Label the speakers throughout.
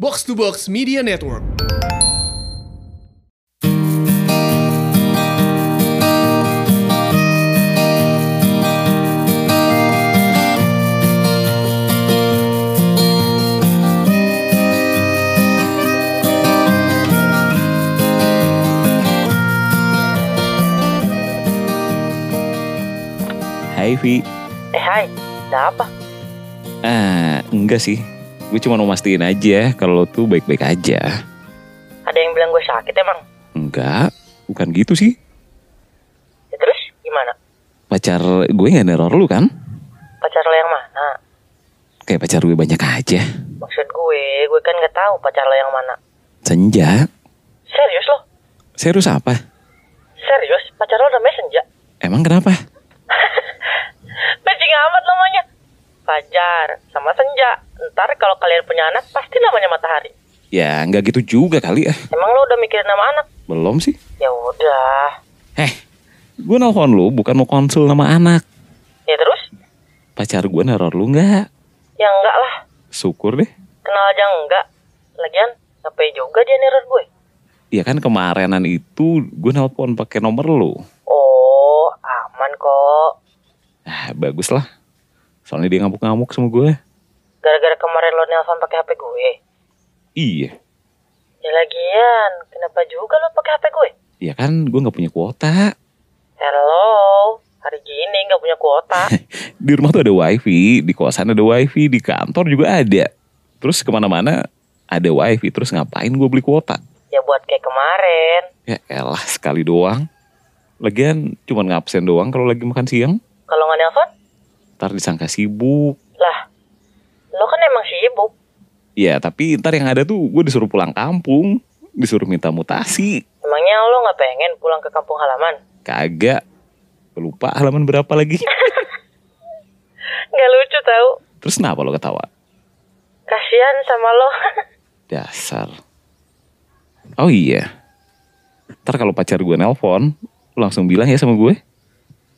Speaker 1: Box to Box Media Network.
Speaker 2: Hai Vi
Speaker 3: Eh, hai, ada apa?
Speaker 2: Ah enggak sih Gue cuma mau mastiin aja Kalau lo tuh baik-baik aja
Speaker 3: Ada yang bilang gue sakit emang?
Speaker 2: Enggak Bukan gitu sih
Speaker 3: Ya terus gimana?
Speaker 2: Pacar gue gak neror lu kan
Speaker 3: Pacar lo yang mana?
Speaker 2: Kayak pacar gue banyak aja
Speaker 3: Maksud gue, gue kan nggak tahu pacar lo yang mana.
Speaker 2: Senja
Speaker 3: Serius lo?
Speaker 2: Serius apa?
Speaker 3: Serius? Pacar lo namanya Senja?
Speaker 2: Emang kenapa?
Speaker 3: Bajing amat namanya. Pacar sama Senja. Ntar kalau kalian punya anak, pasti namanya Matahari.
Speaker 2: Ya nggak gitu juga kali ah
Speaker 3: Emang lo udah mikirin nama anak?
Speaker 2: Belum sih
Speaker 3: Ya udah.
Speaker 2: Heh Gue nelfon lu bukan mau konsul sama anak
Speaker 3: Ya terus?
Speaker 2: Pacar gue neror lu nggak?
Speaker 3: Ya enggak lah.
Speaker 2: Syukur deh
Speaker 3: Kenal aja enggak. Lagian, ngapain juga dia neror gue?
Speaker 2: Ya kan kemarinan itu gue nelpon pakai nomor lu
Speaker 3: Oh, aman kok.
Speaker 2: Ah bagus lah Soalnya dia ngamuk-ngamuk sama gue
Speaker 3: Gara-gara kemarin lo nelpon pakai HP gue.
Speaker 2: Iya
Speaker 3: Ya lagian, kenapa juga lo pakai HP gue?
Speaker 2: Ya kan gue gak punya kuota
Speaker 3: Hello, hari gini nggak punya kuota.
Speaker 2: Di rumah tuh ada wifi Di kosan ada wifi Di kantor juga ada Terus kemana-mana ada wifi Terus ngapain gue beli kuota
Speaker 3: ya buat kayak kemarin.
Speaker 2: Ya elah sekali doang Lagian cuman ngabsen doang kalau lagi makan siang
Speaker 3: Kalau nggak nelpon,
Speaker 2: Ntar disangka sibuk
Speaker 3: lah, lo kan emang sibuk.
Speaker 2: Ya tapi ntar yang ada tuh gue disuruh pulang kampung Disuruh minta mutasi
Speaker 3: Emangnya lo nggak pengen pulang ke kampung halaman?
Speaker 2: Kagak Lupa halaman berapa lagi
Speaker 3: Nggak lucu tau.
Speaker 2: Terus kenapa lo ketawa?
Speaker 3: Kasian sama lo.
Speaker 2: Dasar. Oh iya. Ntar kalau pacar gue nelpon, lu langsung bilang ya sama gue.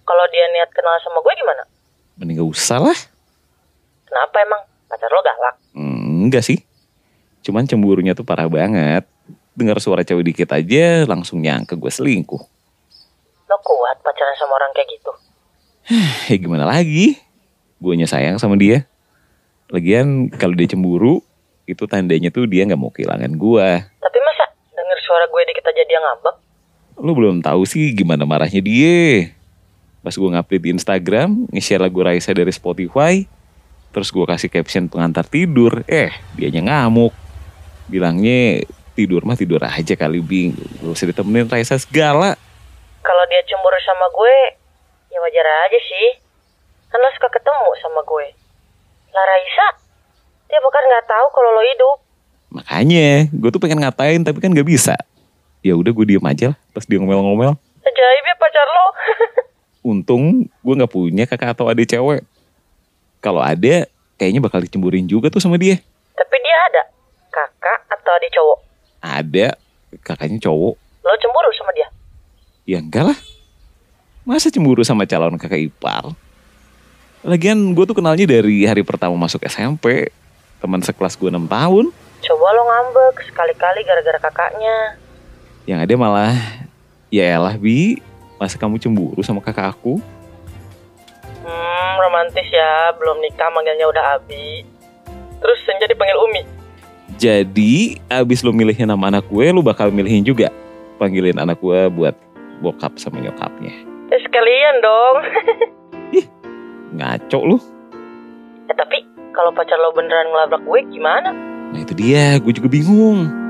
Speaker 3: Kalau dia niat kenal sama gue gimana?
Speaker 2: Mending gak usah lah.
Speaker 3: Kenapa emang? Pacar lo galak.
Speaker 2: Hmm, enggak sih. Cuman cemburunya tuh parah banget. Dengar suara cewek dikit aja langsung nyangka gue selingkuh.
Speaker 3: Lo kuat pacaran sama orang kayak gitu.
Speaker 2: Ya gimana lagi? Guenya sayang sama dia. Lagian kalau dia cemburu, itu tandanya tuh dia nggak mau kehilangan gue.
Speaker 3: Tapi masa denger suara gue dikit aja dia ngambek?
Speaker 2: Lu belum tahu sih gimana marahnya dia. Pas gue ngupdate di Instagram, nge-share lagu Raisa dari Spotify, terus gue kasih caption pengantar tidur, eh dianya ngamuk. Bilangnya tidur mah tidur aja kali Bing, gak usah ditemenin Raisa segala.
Speaker 3: Kalau dia cemburu sama gue, ya wajar aja sih. Kan lo suka ketemu sama gue. Lah Raisa, dia bukan nggak tahu kalau lo hidup.
Speaker 2: Makanya gue tuh pengen ngatain tapi kan gak bisa. Ya udah gue diem aja lah, pas dia ngomel-ngomel.
Speaker 3: Ajaib ya pacar lo.
Speaker 2: Untung gue gak punya kakak atau adik cewek. Kalau ada, kayaknya bakal dicemburin juga tuh sama dia.
Speaker 3: Tapi dia ada kakak atau adik cowok.
Speaker 2: Ada, kakaknya cowok.
Speaker 3: Lo cemburu sama dia.
Speaker 2: Ya enggak lah. Masa cemburu sama calon kakak ipar? Lagian gue tuh kenalnya dari hari pertama masuk SMP. Teman sekelas gue 6 tahun.
Speaker 3: Coba lo ngambek sekali-kali gara-gara kakaknya.
Speaker 2: Yang ada malah, ya elah Bi. Masa kamu cemburu sama kakak aku?
Speaker 3: Hmm, romantis ya. Belum nikah manggilnya udah Abi. Terus Senja dipanggil Umi.
Speaker 2: Jadi abis lu milihin nama anak gue, lu bakal milihin juga. Panggilin anak gue buat bokap sama nyokapnya.
Speaker 3: Eh, sekalian dong.
Speaker 2: Ngaco lu.
Speaker 3: Eh, tapi kalau pacar lo beneran ngelabrak gue gimana?
Speaker 2: Nah itu dia, gue juga bingung.